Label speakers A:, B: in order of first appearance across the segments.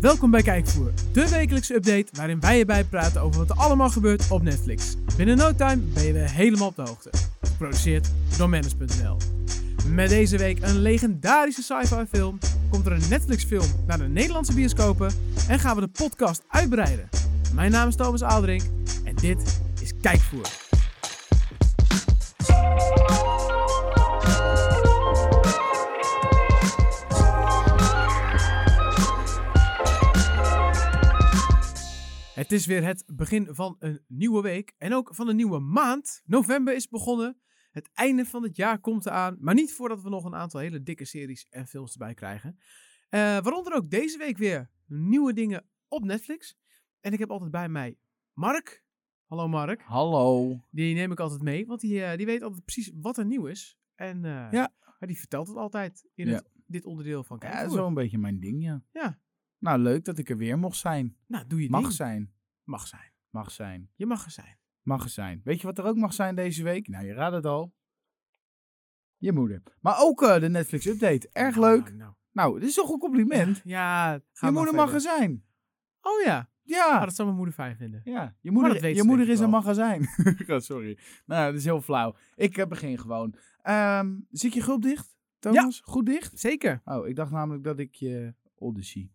A: Welkom bij Kijkvoer, de wekelijkse update waarin wij je bijpraten over wat er allemaal gebeurt op Netflix. Binnen no time ben je weer helemaal op de hoogte. Geproduceerd door Manus.nl. Met deze week een legendarische sci-fi film, komt er een Netflix film naar de Nederlandse bioscopen en gaan we de podcast uitbreiden. Mijn naam is Thomas Aaldrink en dit is Kijkvoer. Het is weer het begin van een nieuwe week en ook van een nieuwe maand. November is begonnen. Het einde van het jaar komt eraan, maar niet voordat we nog een aantal hele dikke series en films erbij krijgen. Eh, waaronder ook deze week weer nieuwe dingen op Netflix. En ik heb altijd bij mij Mark. Hallo Mark.
B: Hallo.
A: Die neem ik altijd mee, want die, eh, die weet altijd precies wat er nieuw is. En eh,
B: Ja.
A: maar die vertelt het altijd in
B: Ja.
A: het, dit onderdeel van
B: Ja,
A: Kijkvoer.
B: zo'n beetje mijn ding, ja.
A: Ja.
B: Nou, leuk dat ik er weer mocht zijn.
A: Nou, doe je
B: Mag
A: ding.
B: zijn.
A: Mag zijn.
B: Mag zijn.
A: Je mag er zijn.
B: Mag er zijn. Weet je wat er ook mag zijn deze week? Nou, je raadt het al. Je moeder. Maar ook eh, de Netflix update. Erg
A: Nou,
B: leuk.
A: nou, nou.
B: Nou, dit is toch een compliment?
A: Ja, ga
B: Je
A: maar
B: moeder
A: verder.
B: mag er zijn.
A: Oh ja. Ah,
B: Ja.
A: dat zou mijn moeder fijn vinden.
B: Ja, je
A: Maar dat
B: moeder,
A: weet
B: je
A: ze
B: moeder
A: denk
B: is
A: ik
B: een
A: wel.
B: magazijn. Ja, Sorry. Nou, dat is heel flauw. Ik eh, begin gewoon. Ehm, zit je gulp dicht, Thomas? Goed dicht?
A: Zeker.
B: Oh, ik dacht namelijk dat ik je Odyssey.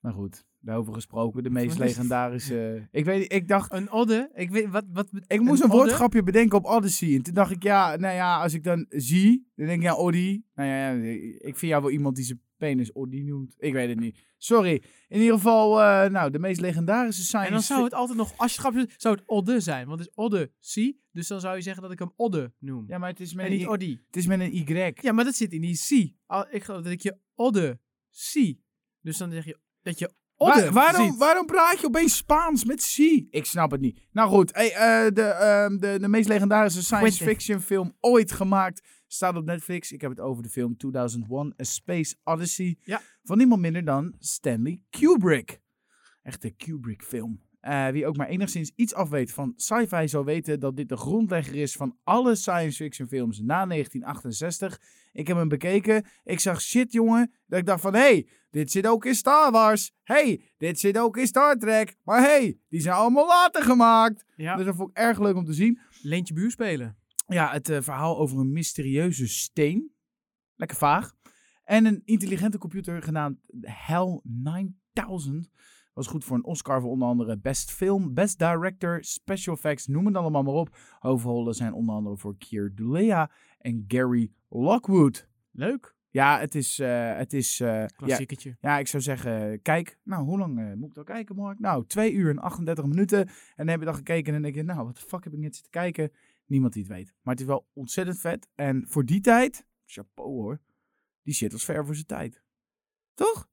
B: Nou goed, daarover gesproken. De meest
A: Wat is-
B: legendarische. Ik weet, ik dacht.
A: Een odde. Ik weet wat. wat
B: Ik moest een,
A: odde?
B: woordgrapje bedenken op Odyssey. En toen dacht ik, ja, nou ja, als ik dan zie, dan denk ik, ja, Oddy. Nou ja, ja, ik vind jou wel iemand die zijn penis Oddy noemt. Ik weet het niet. Sorry. In ieder geval, eh, nou, de meest legendarische science
A: En dan zou het altijd nog, als je grapje doet, zou het odde zijn. Want het is odde, zie. Dus dan zou je zeggen dat ik hem odde noem.
B: Ja, maar het is met,
A: en
B: een,
A: niet
B: i-
A: oddi.
B: het is met een Y.
A: Ja, maar dat zit in die zie. Al- Ik geloof dat ik je odde zie. Dus dan zeg je dat je odde
B: Waar- waarom,
A: ziet.
B: waarom praat je opeens Spaans met C? Ik snap het niet. Nou goed, hey, eh, de, ehm, de, de meest legendarische science
A: Quentin.
B: fiction film ooit gemaakt staat op Netflix. Ik heb het over de film 2001 A Space Odyssey.
A: Ja.
B: Van niemand minder dan Stanley Kubrick. Echte Kubrick film. Eh, wie ook maar enigszins iets afweet van sci-fi zal weten dat dit de grondlegger is van alle science fiction films na 1968. Ik heb hem bekeken. Ik zag shit, jongen. Dat ik dacht van, hé, hey, dit zit ook in Star Wars. hey, dit zit ook in Star Trek. Maar hé, hey, die zijn allemaal later gemaakt.
A: Ja.
B: Dus dat vond ik erg leuk om te zien.
A: Leentje buur spelen.
B: Ja, het eh, verhaal over een mysterieuze steen. Lekker vaag. En een intelligente computer genaamd HAL 9000. Was goed voor een Oscar voor onder andere Best Film, Best Director, Special Effects, noem het allemaal maar op. Hoofdrollen zijn onder andere voor Keir Dulea en Gary Lockwood.
A: Leuk.
B: Ja, het is... eh, het is eh, ja,
A: Klassieketje.
B: ja, ik zou zeggen, kijk. Nou, hoe lang eh, moet ik dan kijken, Mark? Nou, 2 uur en 38 minuten. En dan heb je dan gekeken en denk je, nou, wat de fuck heb ik net zitten kijken? Niemand die het weet. Maar het is wel ontzettend vet. En voor die tijd, chapeau hoor, die shit was ver voor zijn tijd. Toch?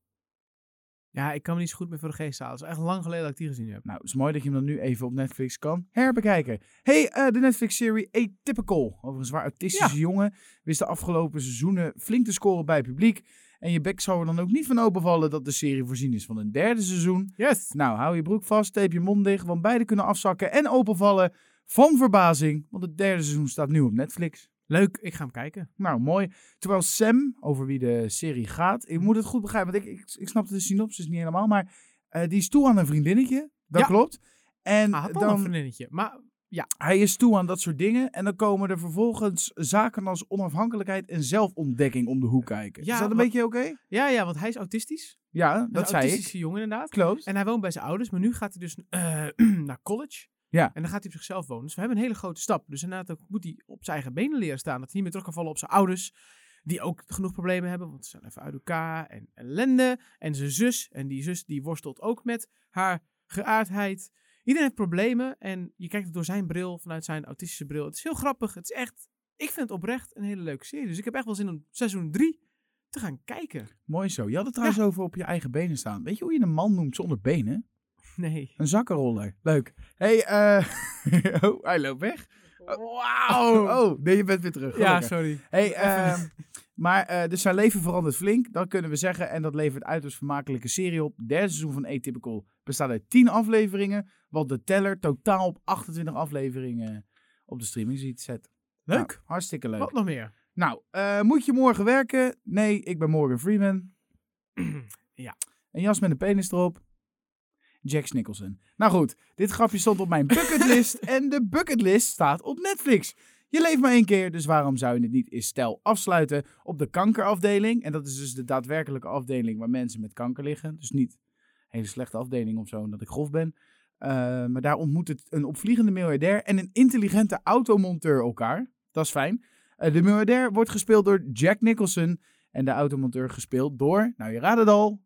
A: Ja. ik kan me niet zo goed meer voor de geest halen. Het is echt lang geleden dat ik die gezien heb.
B: Nou, het is mooi dat je hem dan nu even op Netflix kan herbekijken. Hey, eh, de Netflix-serie Atypical. Over een zwaar autistische jongen. Wist de afgelopen seizoenen flink te scoren bij het publiek. En je bek zou er dan ook niet van openvallen dat de serie voorzien is van een derde seizoen.
A: Yes.
B: Nou, hou je broek vast, tape je mond dicht, want beide kunnen afzakken en openvallen van verbazing. Want het derde seizoen staat nu op Netflix.
A: Leuk. Ik ga hem kijken.
B: Nou, mooi. Terwijl Sam, over wie de serie gaat, ik moet het goed begrijpen, want ik, ik, ik snap de synopsis niet helemaal, maar eh, die is toe aan een vriendinnetje, dat
A: Ja.
B: klopt. En
A: Ah, had al een
B: Eh, dan,
A: vriendinnetje. Maar
B: hij is toe aan dat soort dingen en dan komen er vervolgens zaken als onafhankelijkheid en zelfontdekking om de hoek kijken.
A: Ja,
B: is dat een
A: maar-
B: beetje oké?
A: ja, ja, want hij is autistisch.
B: Ja, dat
A: een
B: zei ik.
A: autistische jongen inderdaad.
B: Klopt.
A: En hij woont bij zijn ouders, maar nu gaat hij dus eh, naar college.
B: Ja.
A: En dan gaat hij op zichzelf wonen. Dus we hebben een hele grote stap. Dus inderdaad ook moet hij op zijn eigen benen leren staan. Dat hij niet meer terug kan vallen op zijn ouders. Die ook genoeg problemen hebben, want ze zijn even uit elkaar. En ellende. En zijn zus. En die zus die worstelt ook met haar geaardheid. Iedereen heeft problemen. En je kijkt het door zijn bril, vanuit zijn autistische bril. Het is heel grappig. Het is echt, ik vind het oprecht een hele leuke serie. Dus ik heb echt wel zin om seizoen 3 te gaan kijken.
B: Mooi zo. Je had het trouwens over op je eigen benen staan. Weet je hoe je een man noemt zonder benen?
A: Nee.
B: Een zakkenroller. Leuk. hey, eh, oh, hij loopt weg.
A: Wauw!
B: Oh, nee, je bent weer terug.
A: ja,
B: Gelukkig.
A: sorry.
B: Hey,
A: Even-
B: ehm, maar eh, dus zijn leven verandert flink, dat kunnen we zeggen. En dat levert uiterst vermakelijke serie op. Derde seizoen van Atypical bestaat uit 10 afleveringen. Wat de teller totaal op 28 afleveringen op de streaming ziet zet.
A: Leuk.
B: Nou, hartstikke leuk.
A: Wat nog meer?
B: Nou, eh, moet je morgen werken? Nee, ik ben Morgan Freeman.
A: Ja.
B: Een jas met een penis erop. Jack Nicholson. Nou goed, dit grapje stond op mijn bucketlist en de bucketlist staat op Netflix. Je leeft maar één keer, dus waarom zou je het niet in stijl afsluiten op de kankerafdeling? En dat is dus de daadwerkelijke afdeling waar mensen met kanker liggen. Dus niet een hele slechte afdeling of zo, omdat ik grof ben. Eh, maar daar ontmoet het een opvliegende miljardair en een intelligente automonteur elkaar. Dat is fijn. Eh, de miljardair wordt gespeeld door Jack Nicholson en de automonteur gespeeld door, nou je raadt het al,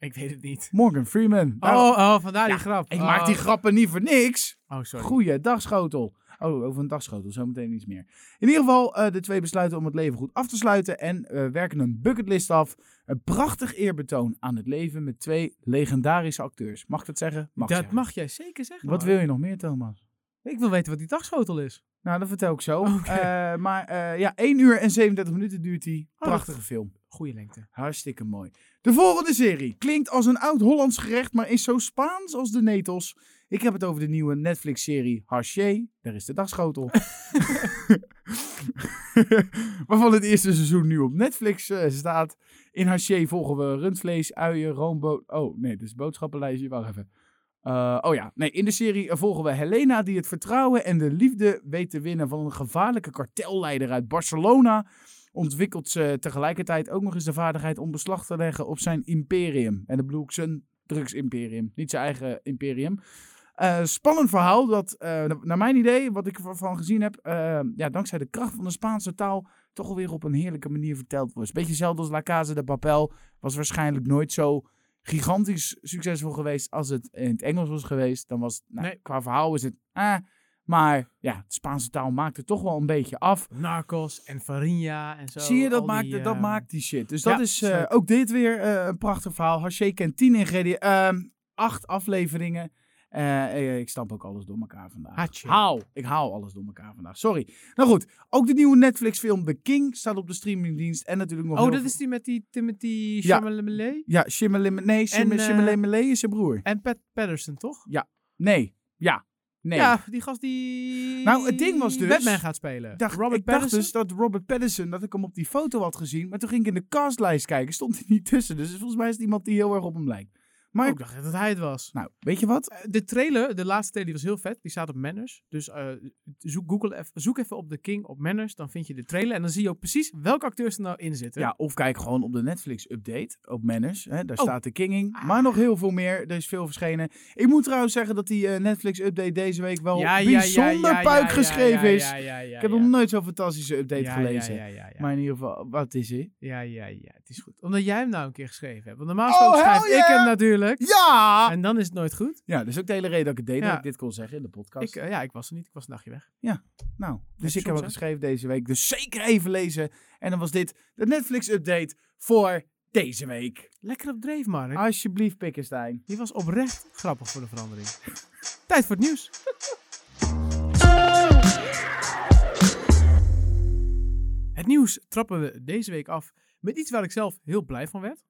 A: Ik weet het niet.
B: Morgan Freeman. Daarom-
A: Oh, oh vandaar die
B: Ja,
A: grap.
B: ik
A: Oh.
B: maak die grappen niet voor niks.
A: Oh, sorry.
B: Goeiedag, schotel. Oh, over een dagschotel, zometeen iets meer. In ieder geval, eh, de twee besluiten om het leven goed af te sluiten en eh, werken een bucketlist af. Een prachtig eerbetoon aan het leven met twee legendarische acteurs. Mag ik dat zeggen? Mag
A: dat
B: ik zeggen.
A: mag jij zeker zeggen.
B: Wat
A: man.
B: wil je nog meer, Thomas?
A: Ik wil weten wat die dagschotel is.
B: Nou, dat vertel ik zo.
A: Oké.
B: Eh, maar eh, ja, 1 uur en 37 minuten duurt die.
A: Oh, dat-
B: Prachtige film.
A: Goeie lengte.
B: Hartstikke mooi. De volgende serie klinkt als een oud-Hollands gerecht, maar is zo Spaans als de netels. Ik heb het over de nieuwe Netflix-serie Haché. Daar is de dagschotel. Waarvan het eerste seizoen nu op Netflix eh, staat. In Haché volgen we rundvlees, uien, roomboot. Oh nee, dit is boodschappenlijstje. Wacht even. Eh, oh ja, nee, in de serie eh, volgen we Helena die het vertrouwen en de liefde weet te winnen van een gevaarlijke kartelleider uit Barcelona ontwikkelt ze tegelijkertijd ook nog eens de vaardigheid om beslag te leggen op zijn imperium. En dat bedoel ik zijn drugsimperium, niet zijn eigen imperium. Eh, spannend verhaal dat, eh, na- naar mijn idee, wat ik ervan gezien heb, eh, ja, dankzij de kracht van de Spaanse taal toch alweer op een heerlijke manier verteld wordt. Beetje hetzelfde als La Casa de Papel, was waarschijnlijk nooit zo gigantisch succesvol geweest als het in het Engels was geweest. Dan was, het, nou,
A: Nee.
B: qua verhaal is het, eh, maar ja, de Spaanse taal maakt het toch wel een beetje af.
A: Narcos en Farinha en zo.
B: Zie je, dat,
A: al
B: maakt,
A: die,
B: dat
A: eh,
B: maakt die shit. Dus
A: ja,
B: dat is eh,
A: snap ik.
B: ook dit weer eh, een prachtig verhaal. Haché kent 10 ingrediënten, ehm, acht afleveringen. Eh, eh, ik stamp ook alles door elkaar vandaag.
A: Haché.
B: Haal. Ik haal alles door elkaar vandaag. Sorry. Nou goed, ook de nieuwe Netflix-film The King staat op de streamingdienst. En natuurlijk nog.
A: Oh,
B: heel
A: dat
B: veel-
A: is die met die Timothy
B: Ja.
A: Chalamet
B: Ja, Shimmelim. Nee, Shim-
A: En, eh,
B: Shimmelemele is zijn broer.
A: en Pat Patterson, toch?
B: Nee. Ja. Nee.
A: Ja, die gast die...
B: Nou, het ding was dus-
A: Batman gaat spelen.
B: Ik dacht,
A: Robert
B: ik dacht
A: Patterson?
B: dus dat Robert Pattinson, dat ik hem op die foto had gezien. Maar toen ging ik in de castlijst kijken, stond hij niet tussen. Dus volgens mij is het iemand die heel erg op hem lijkt. Maar
A: Oh, ik dacht dat hij het was.
B: Nou, weet je wat?
A: Eh, De trailer, de laatste trailer, die was heel vet. Die staat op Manners. Dus eh, zoek, Google even, zoek even op The King op Manners. Dan vind je de trailer. En dan zie je ook precies welke acteurs er nou in zitten.
B: Ja, of kijk gewoon op de Netflix-update op Manners. Hè, daar
A: Oh.
B: staat de King in.
A: Ah.
B: Maar nog heel veel meer. Er is veel verschenen. Ik moet trouwens zeggen dat die eh, Netflix-update deze week wel bijzonder puik geschreven is.
A: Ja, ja, ja,
B: ik heb
A: ja.
B: nog nooit zo'n fantastische update
A: Ja,
B: gelezen.
A: Ja, ja, ja, ja.
B: Maar in ieder geval, wat is het?
A: ja, ja, ja. Het is goed. Omdat jij hem nou een keer geschreven hebt. Want normaal
B: Oh,
A: gesproken
B: hell
A: schrijf ik
B: yeah!
A: hem natuurlijk.
B: Ja!
A: En dan is het nooit goed.
B: Ja, dat is ook de hele reden dat ik het deed.
A: Ja.
B: Dat ik dit kon zeggen in de podcast.
A: Ik, eh, ja, ik was er niet. Ik was een dagje weg.
B: Nou,
A: je
B: dus ik heb
A: soms,
B: wat
A: hè?
B: geschreven deze week. Dus zeker even lezen. En dan was dit de Netflix-update voor deze week.
A: Lekker op dreef, Mark.
B: Alsjeblieft, Pikkenstein.
A: Die was oprecht grappig voor de verandering. Tijd voor het nieuws. Het nieuws trappen we deze week af met iets waar ik zelf heel blij van werd.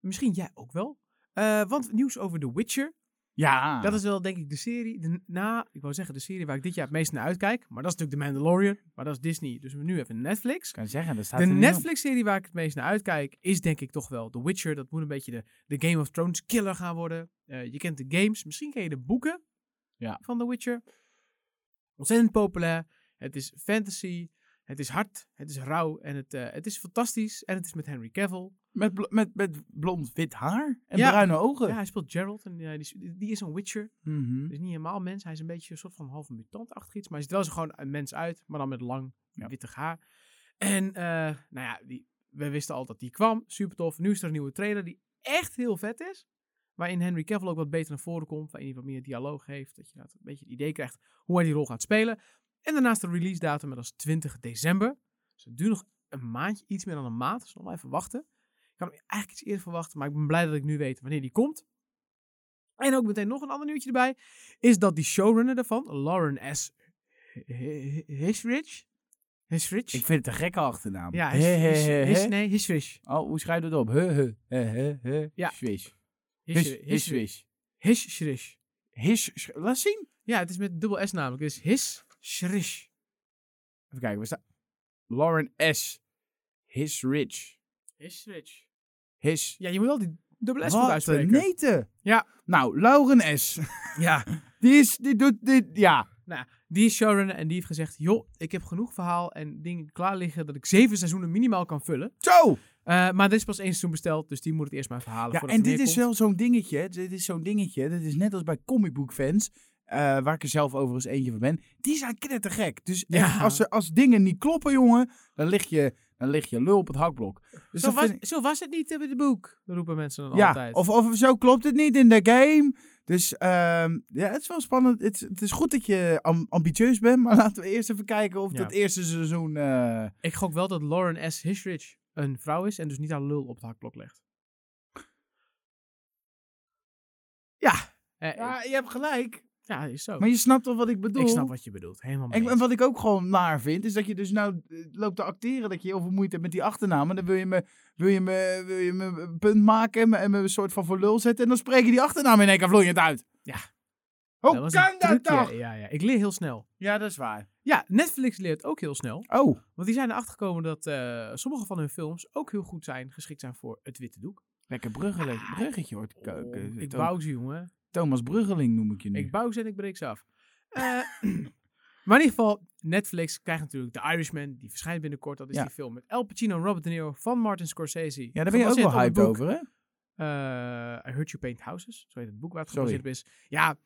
A: Misschien jij ook wel. Eh, want nieuws over The Witcher.
B: Ja.
A: Dat is wel denk ik de serie, de, na, ik wou zeggen de serie waar ik dit jaar het meest naar uitkijk. Maar dat is natuurlijk The Mandalorian, maar dat is Disney. Dus nu even Netflix.
B: kan zeggen, daar staat
A: De
B: er niet op.
A: Netflix-serie waar ik het meest naar uitkijk is denk ik toch wel The Witcher. Dat moet een beetje de, de Game of Thrones killer gaan worden. Eh, je kent de games, misschien ken je de boeken
B: Ja.
A: van The Witcher. Ontzettend populair. Het is fantasy. Het is hard. Het is rauw. En het, eh, het is fantastisch. En het is met Henry Cavill.
B: Met, bl- met, met blond wit haar en
A: Ja.
B: bruine ogen.
A: Ja, hij speelt Geralt. En eh, die, is- die is een Witcher.
B: Mhm.
A: Dus niet helemaal mens. Hij is een beetje een soort van halve mutantachtig iets. Maar hij ziet wel zo gewoon een mens uit. Maar dan met lang,
B: Ja.
A: wittig haar. En, eh, nou ja, die, we wisten al dat die kwam. Super tof. Nu is er een nieuwe trailer die echt heel vet is. Waarin Henry Cavill ook wat beter naar voren komt. Waarin hij wat meer dialoog heeft. Dat je dat een beetje het idee krijgt hoe hij die rol gaat spelen. En daarnaast de release datum. En dat is 20 december. Dus het duurt nog een maandje. Iets meer dan een maand. Dus nog maar even wachten. Ik had hem eigenlijk iets eerder verwachten. Maar ik ben blij dat ik nu weet wanneer die komt. En ook meteen nog een ander nieuwtje erbij is dat die showrunner daarvan, Lauren S. Hisrich? Hisrich?
B: Ik vind het een gekke achternaam.
A: Ja,
B: He, he,
A: His-
B: he,
A: His-
B: he.
A: His- nee, Hisrich.
B: Oh, hoe schrijf je dat op? He, he, he, he, he.
A: Ja.
B: Swish. Hish, hish,
A: Hisrich. Hisrich.
B: Hish, sch- laat zien.
A: Ja, het is met dubbel S namelijk. Het is Hisrich.
B: Even kijken, waar staat... Lauren S. His rich.
A: Hisrich.
B: His.
A: Ja, je moet al die Dubbele S moet
B: Wat een
A: uitspreken.
B: neten.
A: Ja.
B: Nou, Lauren S.
A: Ja.
B: Die is, die doet, dit, ja.
A: Die is showrunner en die heeft gezegd, joh, ik heb genoeg verhaal en dingen klaar liggen dat ik zeven seizoenen minimaal kan vullen.
B: Zo!
A: Eh, maar er is pas één seizoen besteld, dus die moet het eerst maar verhalen.
B: Ja,
A: voordat
B: en
A: er
B: dit
A: meer
B: is
A: komt.
B: wel zo'n dingetje. hè. Dit is zo'n dingetje. Dit is net als bij comicbookfans, eh waar ik er zelf overigens eentje van ben. Die zijn knettergek. Dus echt,
A: Ja.
B: als, ze- als dingen niet kloppen, jongen, dan lig je, dan lig je lul op het hakblok. Dus
A: Zo
B: dat
A: was,
B: vind ik-
A: zo was het niet eh, bij de boek, roepen mensen dan
B: ja,
A: altijd.
B: of, of zo klopt het niet in de game. Dus ehm, ja, het is wel spannend. Het, is- het is goed dat je am- ambitieus bent, maar laten we eerst even kijken of
A: Ja.
B: dat eerste seizoen... eh,
A: Ik gok wel dat Lauren S. Hisrich een vrouw is en dus niet haar lul op het hakblok legt.
B: Ja.
A: Eh, eh,
B: Ja, je hebt gelijk.
A: ja, is zo.
B: Maar je snapt toch wat ik bedoel?
A: Ik snap wat je bedoelt. Helemaal mee
B: En, en
A: eens.
B: wat ik ook gewoon naar vind, is dat je dus nou eh, loopt te acteren dat je heel veel moeite hebt met die achternaam. En dan wil je me, wil je me, wil je me een punt maken en me, en me een soort van voor lul zetten. En dan spreek je die achternaam in één keer vloeiend uit.
A: Ja.
B: Hoe
A: was
B: kan
A: een
B: dat
A: trucje.
B: toch?
A: Ja, ja, ik leer heel snel.
B: Ja, dat is waar.
A: Ja, Netflix leert ook heel snel.
B: Oh,
A: Want die zijn erachter gekomen dat eh, sommige van hun films ook heel goed zijn, geschikt zijn voor het witte doek.
B: lekker bruggele- bruggetje hoort.
A: Oh,
B: keuken.
A: ik bouw ze, jongen.
B: Thomas Bruggeling noem ik je nu.
A: Ik bouw ze en ik breek ze af. Eh, maar in ieder geval, Netflix krijgt natuurlijk The Irishman. Die verschijnt binnenkort. Dat is
B: Ja.
A: die film met Al Pacino en Robert De Niro van Martin Scorsese.
B: ja, daar ben je ook wel hyped
A: hype
B: over, hè?
A: I Heard You Paint Houses. Zo heet het boek waar het
B: Sorry.
A: gebaseerd op is. Ja,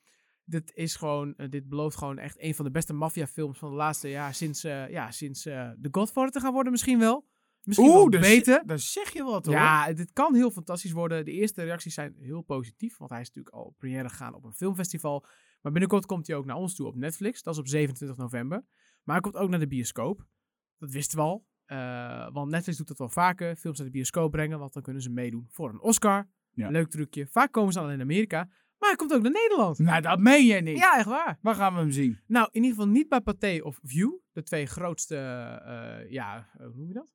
A: dit is gewoon, eh, dit belooft gewoon echt een van de beste maffiafilms van de laatste jaar. Sinds, eh, ja, sinds eh The Godfather te gaan worden misschien wel. Misschien wel
B: daar
A: beter.
B: zeg- Daar dus zeg je wat, hoor.
A: Ja, dit kan heel fantastisch worden. De eerste reacties zijn heel positief, want hij is natuurlijk al op première gegaan op een filmfestival. Maar binnenkort komt hij ook naar ons toe op Netflix. Dat is op 27 november. Maar hij komt ook naar de bioscoop. Dat wisten we al. eh, want Netflix doet dat wel vaker. Films naar de bioscoop brengen, want dan kunnen ze meedoen voor een Oscar.
B: Ja.
A: Leuk trucje. Vaak komen ze dan in Amerika. Maar hij komt ook naar Nederland.
B: Nou, dat meen je niet.
A: Ja, echt waar.
B: Waar gaan we hem zien?
A: Nou, in ieder geval niet bij Pathé of View. De twee grootste, eh, ja, eh, hoe noem je dat?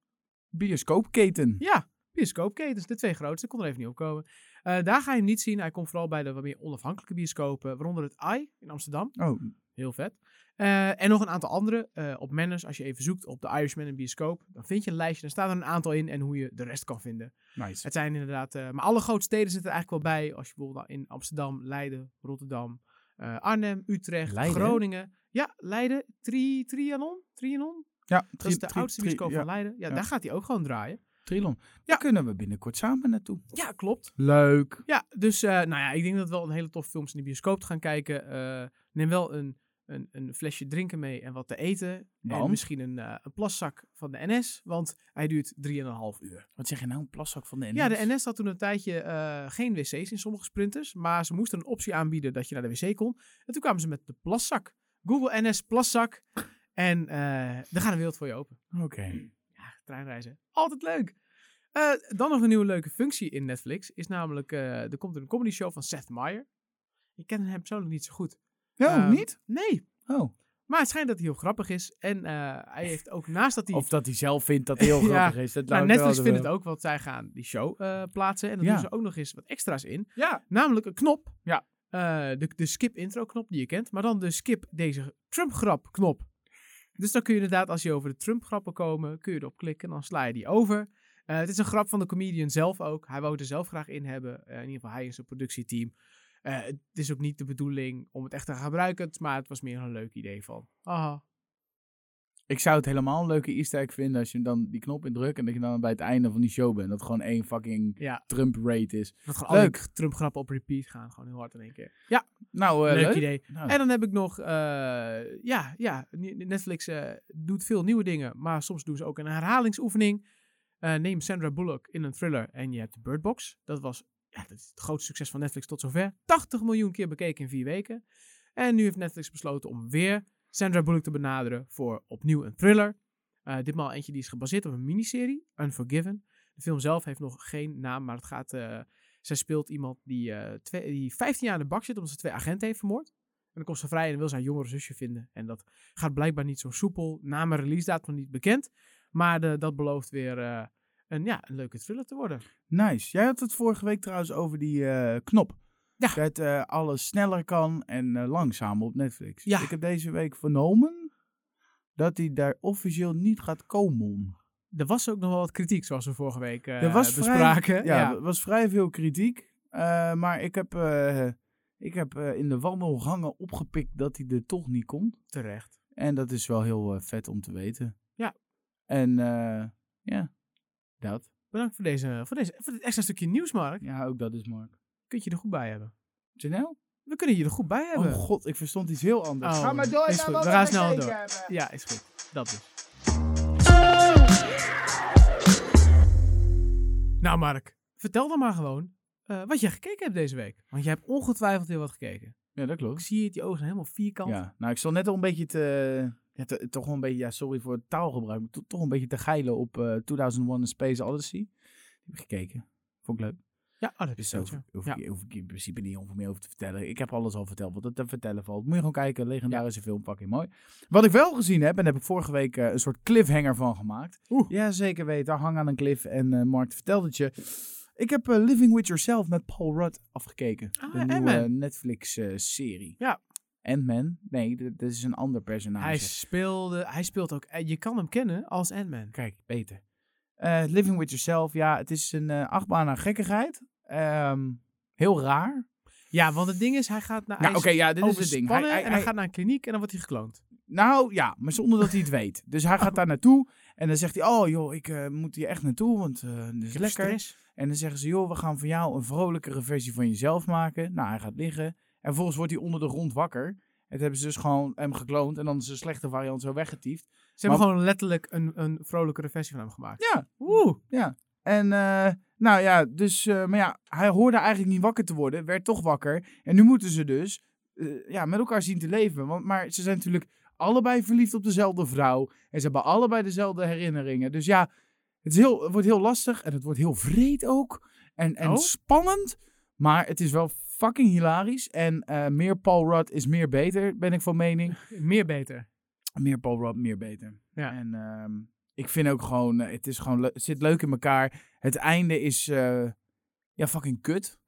B: Bioscoopketen.
A: Ja, bioscoopketens. De twee grootste. Kon er even niet op komen. Eh, daar ga je hem niet zien. Hij komt vooral bij de wat meer onafhankelijke bioscopen. Waaronder het AI in Amsterdam.
B: Oh,
A: Heel vet. Eh, en nog een aantal andere. eh, op Manners, als je even zoekt op de Irishman en bioscoop. Dan vind je een lijstje. Daar staan er een aantal in. En hoe je de rest kan vinden.
B: nice.
A: Het zijn inderdaad... eh, maar alle grote steden zitten er eigenlijk wel bij. Als je bijvoorbeeld nou in Amsterdam, Leiden, Rotterdam, eh, Arnhem, Utrecht,
B: Leiden?
A: Groningen. Ja, Leiden. Tri, trianon? Trianon?
B: Ja,
A: Dat is de oudste bioscoop
B: ja.
A: van Leiden. Ja,
B: ja.
A: daar gaat hij ook gewoon draaien.
B: Trilon. Ja. Daar kunnen we binnenkort samen naartoe.
A: Ja, klopt.
B: Leuk.
A: Ja, dus eh, nou ja, ik denk dat we wel een hele toffe films in de bioscoop te gaan kijken. Eh, neem wel een, een, een flesje drinken mee en wat te eten. En
B: Want?
A: misschien een, eh, een plaszak van de NS, want hij duurt 3,5 uur.
B: Wat zeg je nou, een plaszak van de NS?
A: Ja, de NS had toen een tijdje eh, geen wc's in sommige sprinters, maar ze moesten een optie aanbieden dat je naar de wc kon. En toen kwamen ze met de plaszak. Google NS plaszak. En eh er gaat een wereld voor je open.
B: Oké.
A: Ja, Ah, treinreizen. Altijd leuk. Eh, dan nog een nieuwe leuke functie in Netflix. Is namelijk, eh, er komt een comedy show van Seth Meyers. Ik ken hem persoonlijk niet zo goed.
B: Ja,
A: Ehm,
B: niet?
A: Nee.
B: Oh.
A: Maar het schijnt dat hij heel grappig is. En eh, hij heeft ook naast dat hij...
B: Of dat hij zelf vindt dat hij heel
A: Ja.
B: grappig is. Dat
A: nou, Netflix vindt het ook, want zij gaan die show eh, plaatsen. En dan
B: Ja.
A: doen ze ook nog eens wat extra's in.
B: Ja.
A: Namelijk een knop.
B: Ja.
A: Eh, de, de skip intro knop die je kent. Maar dan de skip deze Trump grap knop. Dus dan kun je inderdaad, als je over de Trump grappen komen, kun je erop klikken. Dan sla je die over. Eh, het is een grap van de comedian zelf ook. Hij wou er zelf graag in hebben. Eh, in ieder geval hij en zijn productieteam. Eh, het is ook niet de bedoeling om het echt te gaan gebruiken. Maar het was meer een leuk idee van. Aha.
B: Ik zou het helemaal een leuke easter egg vinden als je dan die knop indrukt en dat je dan bij het einde van die show bent. Dat gewoon één fucking
A: Ja,
B: Trump-rate is.
A: dat gewoon alle
B: Leuk.
A: Trump grappen op repeat gaan. Gewoon heel hard in één keer.
B: Nou, eh,
A: leuk,
B: leuk.
A: idee.
B: Nou,
A: En dan heb ik nog, eh, ja, ja, Netflix eh, doet veel nieuwe dingen, maar soms doen ze ook een herhalingsoefening. Eh, neem Sandra Bullock in een thriller en je hebt de Bird Box. Dat was ja, dat is het grootste succes van Netflix tot zover. 80 miljoen keer bekeken in vier weken. En nu heeft Netflix besloten om weer Sandra Bullock te benaderen voor opnieuw een thriller. Eh, ditmaal eentje die is gebaseerd op een miniserie, Unforgiven. De film zelf heeft nog geen naam, maar het gaat... eh, zij speelt iemand die, eh, twee, die 15 jaar in de bak zit omdat ze twee agenten heeft vermoord. En dan komt ze vrij en dan wil ze haar jongere zusje vinden. En dat gaat blijkbaar niet zo soepel. Naam en release datum nog niet bekend. Maar eh, dat belooft weer eh, een, ja, een leuke thriller te worden.
B: nice. Jij had het vorige week trouwens over die eh, knop.
A: Ja.
B: Dat eh, alles sneller kan en eh, langzamer op Netflix.
A: Ja.
B: Ik heb deze week vernomen dat hij daar officieel niet gaat komen.
A: er was ook nog wel wat kritiek, zoals we vorige week eh
B: Er was vrij-
A: bespraken.
B: Ja, er was vrij veel kritiek. eh, maar ik heb, eh, ik heb eh, in de wandelgangen opgepikt dat hij er toch niet komt.
A: terecht.
B: En dat is wel heel eh, vet om te weten.
A: Ja.
B: En eh, ja, dat.
A: Bedankt voor, deze, voor, deze, voor dit extra stukje nieuws, Mark.
B: Ja, ook dat is Mark.
A: Kun je er goed bij hebben?
B: Chanel?
A: We kunnen je er goed bij hebben.
B: Oh god, ik verstond iets heel anders.
A: Oh,
B: Ga maar door
A: is
B: naar
A: goed.
B: wat
A: We gaan
B: we
A: snel
B: gekeken
A: door.
B: hebben.
A: Ja, is goed. Dat dus. Nou, Mark, vertel dan maar gewoon eh, wat jij gekeken hebt deze week. Want je hebt ongetwijfeld weer wat gekeken.
B: Ja, dat
A: Ik
B: klopt.
A: zie het, je ogen zijn helemaal vierkant.
B: Ja, nou ik stond net al een beetje te... ja, te- toch wel een beetje, ja, sorry voor het taalgebruik, maar to- toch een beetje te geilen op eh 2001 A Space Odyssey. Die heb ik gekeken. Vond ik leuk.
A: ja oh, dat
B: Dus
A: is
B: daar
A: zo.
B: hoef, ik- hoef,
A: Ja.
B: ik- hoef ik in principe niet heel veel meer over te vertellen. Ik heb alles al verteld wat er te vertellen valt. Moet je gewoon kijken. Legendarische film, fucking mooi. Wat ik wel gezien heb, en daar heb ik vorige week eh, een soort cliffhanger van gemaakt.
A: Oeh.
B: Ja, zeker weten. Hang aan een cliff. En eh, Mark vertelde het je. Ik heb eh, Living With Yourself met Paul Rudd afgekeken.
A: Ah,
B: de nieuwe
A: Ant-Man.
B: Netflix-serie.
A: Ja.
B: Ant-Man? Nee, d- dat is een ander personage.
A: Hij, speelde, hij speelt ook... eh, Je kan hem kennen als Ant-Man.
B: Kijk, beter. Eh, Living With Yourself, ja, het is een eh achtbaan aan gekkigheid. Ehm, heel raar.
A: Ja, want het ding is, hij gaat naar...
B: Nou,
A: hij
B: oké,
A: is
B: ja, dit is het ding. Hij,
A: overspannen
B: hij-
A: en hij
B: hij-
A: gaat naar een kliniek en dan wordt hij gekloond.
B: Nou ja, maar zonder dat hij het weet. Dus hij gaat daar naartoe en dan zegt hij: Oh joh, ik eh, moet hier echt naartoe, want eh het is
A: heb
B: lekker.
A: stress.
B: En dan zeggen ze: Joh, we gaan van jou een vrolijkere versie van jezelf maken. Nou, hij gaat liggen. En vervolgens wordt hij onder de grond wakker. Het hebben ze dus gewoon hem gekloond en dan is de slechte variant zo weggetiefd.
A: Ze
B: Maar-
A: hebben gewoon letterlijk een, een vrolijkere versie van hem gemaakt.
B: Ja,
A: Oeh.
B: en eh, nou ja, dus, eh, maar ja, hij hoorde eigenlijk niet wakker te worden, werd toch wakker. En nu moeten ze dus eh, ja, met elkaar zien te leven. Want, maar ze zijn natuurlijk allebei verliefd op dezelfde vrouw. En ze hebben allebei dezelfde herinneringen. Dus ja, het, is heel, het wordt heel lastig en het wordt heel vreed ook. En, en
A: Oh.
B: spannend, maar het is wel fucking hilarisch. En eh, meer Paul Rudd is meer beter, ben ik van mening
A: Meer beter.
B: meer Paul Rudd, meer beter.
A: Ja.
B: En ehm, ik vind ook gewoon, eh, het, is gewoon leu- het zit leuk in elkaar. Het einde is eh, ja, fucking kut.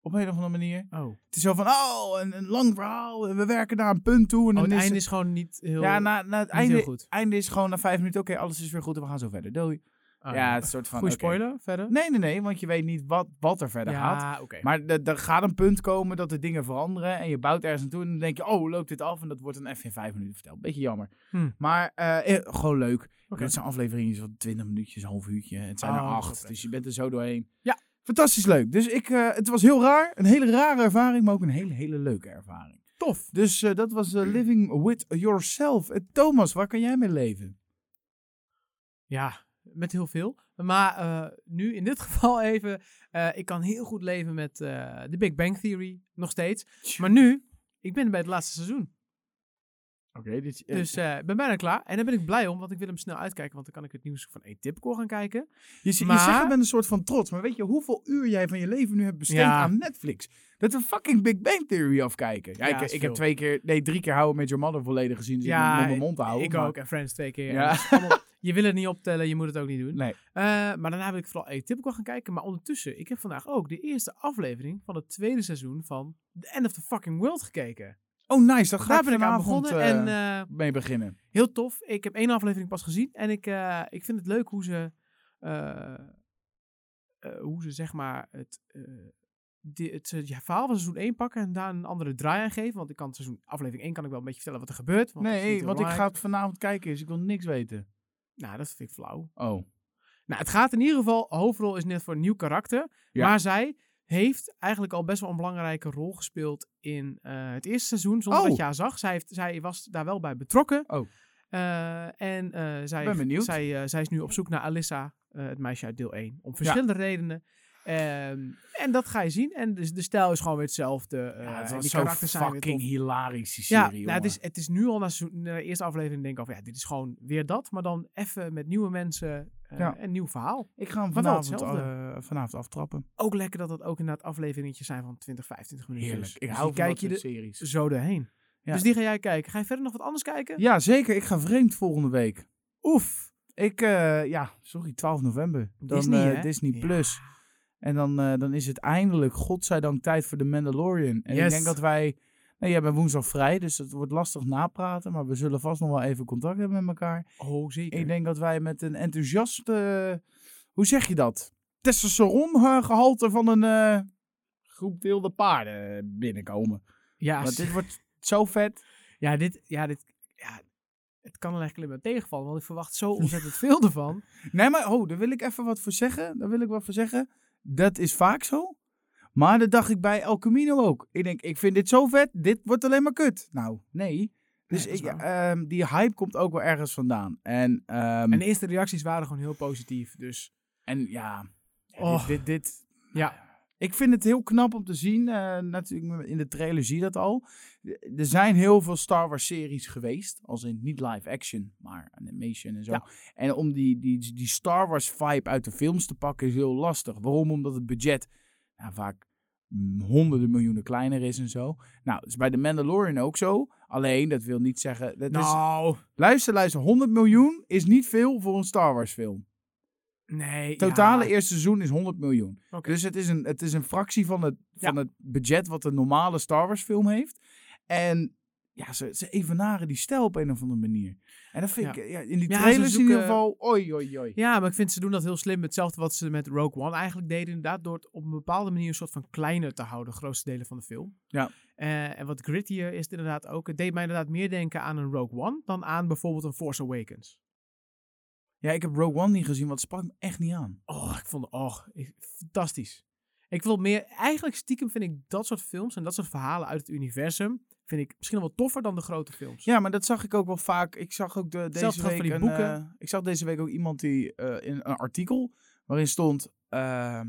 B: Op een of andere manier.
A: Oh.
B: Het is zo van, oh, een, een lang verhaal. en We werken naar een punt toe. En
A: Oh,
B: dan
A: het nou,
B: is
A: einde is gewoon niet heel,
B: ja, na, na het
A: niet heel
B: einde,
A: goed.
B: einde is gewoon na vijf minuten, oké, alles is weer goed en we gaan zo verder. Doei.
A: Ah,
B: ja, het is een soort van...
A: Goeie
B: oké.
A: spoiler verder.
B: Nee, nee, nee, want je weet niet wat, wat er verder gaat.
A: ja, oké.
B: Maar d- er gaat een punt komen dat de dingen veranderen en je bouwt ergens naartoe en dan denk je, oh, hoe loopt dit af? En dat wordt dan even in vijf minuten verteld. Beetje jammer.
A: Hmm.
B: Maar eh, eh, gewoon leuk.
A: Oké.
B: Het zijn afleveringen van 20 minuutjes, een half uurtje. Het zijn
A: Oh,
B: er
A: dat is wel
B: acht,
A: prettig.
B: dus je bent er zo doorheen.
A: Ja.
B: Fantastisch leuk. Dus ik, eh, het was heel raar. Een hele rare ervaring, maar ook een hele, hele leuke ervaring.
A: Tof.
B: Dus eh, dat was eh, Living With Yourself. Eh, Thomas, waar kan jij mee leven?
A: Ja, met heel veel. Maar eh, nu in dit geval even, eh, ik kan heel goed leven met eh de Big Bang Theory, nog steeds. Maar nu, ik ben bij het laatste seizoen.
B: Oké, dit
A: Dus eh, ik ben bijna klaar. En daar ben ik blij om, want ik wil hem snel uitkijken, want dan kan ik het nieuws van E-Tipcore gaan kijken.
B: Je, z- je
A: Maar-
B: zegt het met een soort van trots, maar weet je hoeveel uur jij van je leven nu hebt besteed
A: Ja.
B: aan Netflix? Dat we fucking Big Bang Theory afkijken. Ja,
A: Ja,
B: ik,
A: is
B: ik heb
A: veel.
B: twee keer, nee, drie keer How I Met Your Mother volledig gezien, dus ik
A: Ja,
B: moet met mijn mond houden.
A: ik
B: maar-
A: ook, en Friends twee keer.
B: Ja.
A: En dat is allemaal- je wil het niet optellen, je moet het ook niet doen.
B: Nee.
A: Eh, maar daarna wil ik vooral E-Tipcore gaan kijken. Maar ondertussen, ik heb vandaag ook de eerste aflevering van het tweede seizoen van The End of the Fucking World gekeken.
B: Oh, nice, dat
A: daar
B: gaat
A: ben ik aan
B: vanavond
A: begonnen
B: eh,
A: en... eh,
B: mee beginnen.
A: heel tof. Ik heb één aflevering pas gezien en ik, eh, ik vind het leuk hoe ze, eh, eh, hoe ze zeg maar het, eh, di- het, eh, ja, verhaal van seizoen 1 pakken en daar een andere draai aan geven. Want ik kan seizoen, aflevering 1 kan ik wel een beetje vertellen wat er gebeurt. Want dat is niet
B: Nee,
A: heel
B: want ik ga
A: belangrijk.
B: het vanavond kijken, dus ik wil niks weten.
A: Nou, dat vind ik flauw.
B: Oh.
A: Nou, het gaat in ieder geval, hoofdrol is net voor een nieuw karakter.
B: Ja.
A: Maar zij heeft eigenlijk al best wel een belangrijke rol gespeeld in eh, het eerste seizoen, zonder
B: Oh.
A: dat je haar zag. Zij, heeft, zij was daar wel bij betrokken.
B: Oh.
A: Eh, en eh, zij,
B: Ben benieuwd.
A: Zij, eh, zij is nu op zoek naar Alissa, eh, het meisje uit deel 1, om verschillende redenen. Ehm, en dat ga je zien. En dus de, de stijl is gewoon weer hetzelfde. eh,
B: Ja, het
A: en
B: was
A: die
B: zo'n
A: karakters zijn weer
B: fucking
A: tof.
B: hilarische
A: Ja,
B: serie,
A: nou, het, is, het is nu al na, seizoen- na de eerste aflevering denk ik al van, ja, dit is gewoon weer dat. Maar dan even met nieuwe mensen eh,
B: Ja.
A: en nieuw verhaal.
B: Ik ga hem
A: Maar wel
B: vanavond,
A: hetzelfde.
B: eh, vanavond aftrappen.
A: Ook lekker dat dat ook inderdaad afleveringetjes zijn van 20, 25 minuten.
B: Heerlijk.
A: Dus
B: Ik
A: die
B: hou van
A: kijk
B: dat
A: je
B: soort
A: er
B: series.
A: zo doorheen.
B: Ja.
A: Dus die ga jij kijken. Ga je verder nog wat anders kijken?
B: Ja, zeker. Ik ga vreemd volgende week.
A: Oef.
B: Ik, eh, ja, sorry, 12 november. Dan
A: Disney,
B: eh,
A: hè?
B: Disney
A: Ja.
B: Plus. En dan, eh, dan is het eindelijk, godzijdank, tijd voor de Mandalorian. En ik
A: Yes.
B: denk dat wij Nee, jij bent woensdag vrij, dus het wordt lastig napraten. Maar we zullen vast nog wel even contact hebben met elkaar.
A: Oh, zeker.
B: Ik denk dat wij met een enthousiaste... hoe zeg je dat? Testosteron-gehalte van een eh, groep wilde paarden binnenkomen.
A: ja,
B: Want dit wordt zo vet.
A: Ja, dit, ja, dit, ja, het kan er eigenlijk alleen maar tegenvallen, want ik verwacht zo ontzettend veel ervan.
B: Nee, maar oh, daar wil ik even wat voor zeggen. Daar wil ik wat voor zeggen. Dat is vaak zo. Maar dat dacht ik bij El Camino ook. Ik denk, ik vind dit zo vet. Dit wordt alleen maar kut. Nou, nee. Dus
A: dat is
B: ik, ehm, die hype komt ook wel ergens vandaan. En, ehm,
A: En
B: en,
A: de eerste reacties waren gewoon heel positief, dus
B: ja,
A: Oh.
B: dit, dit, dit,
A: ja.
B: Ik vind het heel knap om te zien. eh, natuurlijk, in de trailer zie je dat al. Eh, Er zijn heel veel Star Wars-series geweest. Als in niet live action, maar animation en zo.
A: Ja.
B: En om die, die, die Star Wars-vibe uit de films te pakken is heel lastig. Waarom? Omdat het budget nou, vaak mm, honderden miljoenen kleiner is en zo. Nou, dat is bij The Mandalorian ook zo. Alleen, dat wil niet zeggen... Dat is,
A: Nou,
B: luister, luister. 100 miljoen is niet veel voor een Star Wars-film.
A: nee.
B: Totale
A: ja.
B: eerste seizoen is 100 miljoen.
A: Oké.
B: Dus het is een, het is een fractie van het,
A: Ja.
B: van het budget wat een normale Star Wars film heeft. En ja, ze, ze evenaren die stijl op een of andere manier. En dat vind
A: Ja.
B: ik, ja, in die
A: Ja, ze
B: trailers in ieder
A: zoeken-
B: geval, oi, oi, oi.
A: Ja, maar ik vind ze doen dat heel slim. Hetzelfde wat ze met Rogue One eigenlijk deden. Inderdaad, door het op een bepaalde manier een soort van kleiner te houden, grootste delen van de film.
B: Ja.
A: Eh, en wat grittier is het inderdaad ook. Het deed mij inderdaad meer denken aan een Rogue One dan aan bijvoorbeeld een Force Awakens.
B: Ja, ik heb Rogue One niet gezien, want het sprak me echt niet aan.
A: Oh, ik vond oh, ik- fantastisch. Ik wil meer, eigenlijk stiekem vind ik dat soort films en dat soort verhalen uit het universum, vind ik misschien wel toffer dan de grote films.
B: Ja, maar dat zag ik ook wel vaak. Ik zag ook de,
A: Zelfs gaf
B: deze week
A: van die
B: een,
A: boeken.
B: eh, ik zag deze week ook iemand die eh, in een artikel waarin stond: ehm,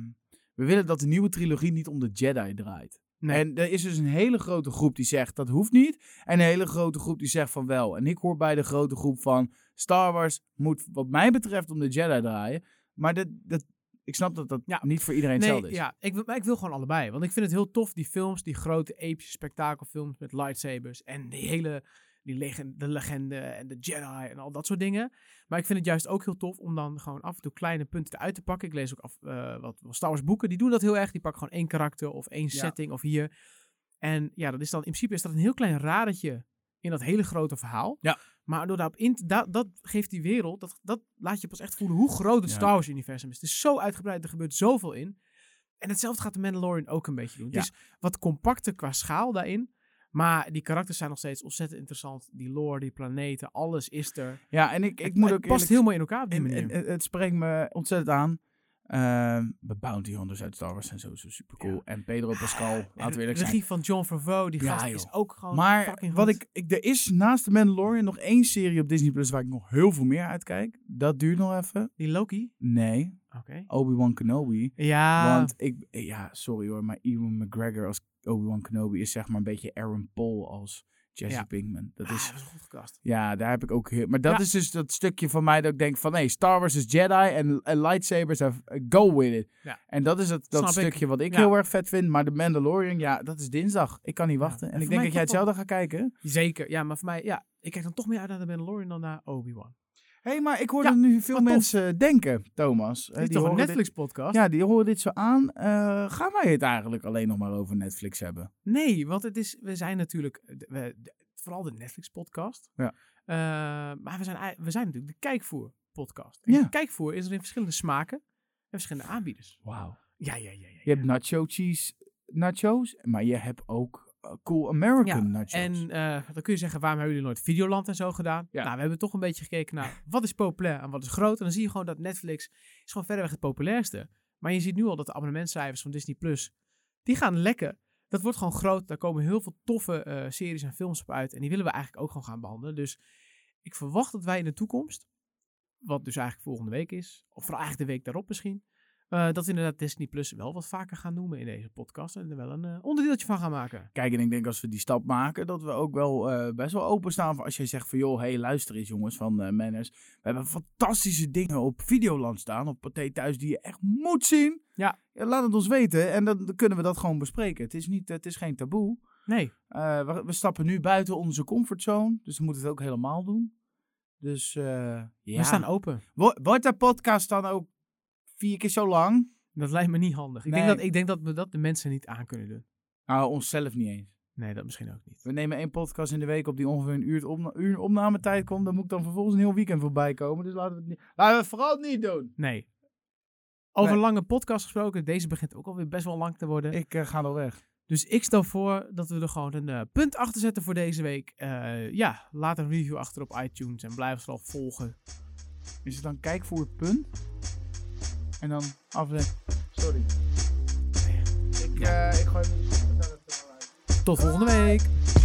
B: we willen dat de nieuwe trilogie niet om de Jedi draait.
A: Nee.
B: En er is dus een hele grote groep die zegt dat hoeft niet, en een hele grote groep die zegt van wel. En ik hoor bij de grote groep van Star Wars moet wat mij betreft om de Jedi draaien, maar dat, dat, ik snap dat dat
A: Ja.
B: niet voor iedereen hetzelfde
A: nee,
B: is.
A: ja, ik, wil- maar ik wil gewoon allebei. Want ik vind het heel tof, die films, die grote epische spektakelfilms met lightsabers en die hele, die legende, de legende en de Jedi en al dat soort dingen. Maar ik vind het juist ook heel tof om dan gewoon af en toe kleine punten eruit te pakken. Ik lees ook af, eh, wat, wat Star Wars boeken, die doen dat heel erg. Die pakken gewoon één karakter of één
B: Ja.
A: setting of hier. En ja, dat is dan, in principe is dat een heel klein radertje in dat hele grote verhaal.
B: Ja.
A: Maar door daarop in te- da- dat geeft die wereld, dat, dat laat je pas echt voelen hoe groot het
B: Ja.
A: Star Wars universum is. Het is zo uitgebreid, er gebeurt zoveel in. En hetzelfde gaat de Mandalorian ook een beetje doen.
B: Ja.
A: Het is wat compacter qua schaal daarin. Maar die karakters zijn nog steeds ontzettend interessant. Die lore, die planeten, alles is er.
B: Ja, en ik, ik
A: Het-
B: moet
A: het
B: ook
A: past
B: eerlijk
A: heel mooi in elkaar op die
B: En,
A: manier.
B: en- en het spreekt me ontzettend aan. Ehm, de Bounty Hunters uit Star Wars zijn sowieso super cool.
A: Ja.
B: En Pedro Pascal,
A: En
B: laten we eerlijk
A: de
B: zijn.
A: regie van John Favreau, die
B: Ja,
A: gast
B: joh.
A: is ook gewoon
B: Maar
A: fucking
B: wat
A: goed.
B: ik, ik, er is naast de Mandalorian nog één serie op Disney Plus waar ik nog heel veel meer uitkijk. Dat duurt nog even.
A: Die Loki?
B: Nee,
A: Oké.
B: Obi-Wan Kenobi.
A: Ja.
B: Want ik, ja, sorry hoor, maar Ewan McGregor als Obi-Wan Kenobi is zeg maar een beetje Aaron Paul als Jesse
A: Ja.
B: Pinkman. Dat
A: Ah,
B: is,
A: dat is goed gecast.
B: ja, daar heb ik ook heel... Maar dat
A: Ja.
B: is dus dat stukje van mij dat ik denk van... Nee, Star Wars is Jedi en, en lightsabers have, go with it.
A: Ja.
B: En dat is dat, dat
A: Snap ik.
B: stukje wat ik
A: Ja.
B: heel erg vet vind. Maar de Mandalorian, ja, dat is dinsdag. Ik kan niet wachten.
A: En
B: En ik
A: voor
B: denk
A: mij
B: dat jij
A: klopt dat.
B: hetzelfde gaat kijken.
A: Zeker. Ja, maar voor mij, ja. Ik kijk dan toch meer uit naar de Mandalorian dan naar Obi-Wan.
B: Hé, hey, maar ik hoor
A: Ja,
B: dat nu veel
A: wat tof.
B: mensen denken, Thomas. Eh,
A: Dit is
B: die
A: toch een
B: horen dit-
A: Netflix-podcast?
B: Ja, die horen dit zo aan. Eh, gaan wij het eigenlijk alleen nog maar over Netflix hebben?
A: Nee, want het is, we zijn natuurlijk, d- we, d- vooral de Netflix-podcast.
B: Ja.
A: Eh, maar we zijn, ei- we zijn natuurlijk de Kijkvoer-podcast. En
B: Ja.
A: de Kijkvoer is er in verschillende smaken en verschillende aanbieders.
B: Wauw.
A: Ja, ja, ja. ja,
B: Je hebt nacho cheese nachos, maar je hebt ook eh, cool American
A: Ja,
B: nachos.
A: En eh, dan kun je zeggen, waarom hebben jullie nooit Videoland en zo gedaan?
B: Ja.
A: Nou, we hebben toch een beetje gekeken naar wat is populair en wat is groot. En dan zie je gewoon dat Netflix is gewoon verreweg het populairste. Maar je ziet nu al dat de abonnementcijfers van Disney Plus, die gaan lekker. Dat wordt gewoon groot. Daar komen heel veel toffe eh, series en films op uit. En die willen we eigenlijk ook gewoon gaan behandelen. Dus ik verwacht dat wij in de toekomst, wat dus eigenlijk volgende week is, of vooral eigenlijk de week daarop misschien, eh, dat we inderdaad Disney Plus wel wat vaker gaan noemen in deze podcast. En er wel een eh, onderdeeltje van gaan maken.
B: Kijk, en ik denk als we die stap maken, dat we ook wel eh, best wel openstaan. Voor als jij zegt van, joh, hey, luister eens jongens van eh Manners. We hebben fantastische dingen op Videoland staan, op Pathé Thuis, die je echt moet zien.
A: Ja.
B: Laat het ons weten en dan, dan kunnen we dat gewoon bespreken. Het is, niet, het is geen taboe.
A: Nee.
B: Eh, we, we stappen nu buiten onze comfortzone, dus we moeten het ook helemaal doen. Dus eh, ja.
A: We staan open.
B: Wo- Wordt de podcast dan ook vier keer zo lang?
A: Dat lijkt me niet handig. Ik,
B: Nee.
A: denk dat, ik denk dat we dat de mensen niet aan kunnen doen.
B: Nou, onszelf niet eens.
A: Nee, dat misschien ook niet.
B: We nemen één podcast in de week op die ongeveer een uur, opna uur opnametijd komt. Dan moet ik dan vervolgens een heel weekend voorbij komen. Dus laten we het, niet, laten we het vooral niet doen.
A: Nee. Over
B: Nee.
A: een lange podcast gesproken. Deze begint ook alweer best wel lang te worden.
B: Ik eh, ga al weg.
A: Dus ik stel voor dat we er gewoon een eh, punt achter zetten voor deze week. Eh, ja, laat een review achter op iTunes en blijf ons vooral volgen.
B: Is het dan kijk voor het punt? En dan afleggen. Sorry. Ik, eh ik gooi...
A: Tot volgende week!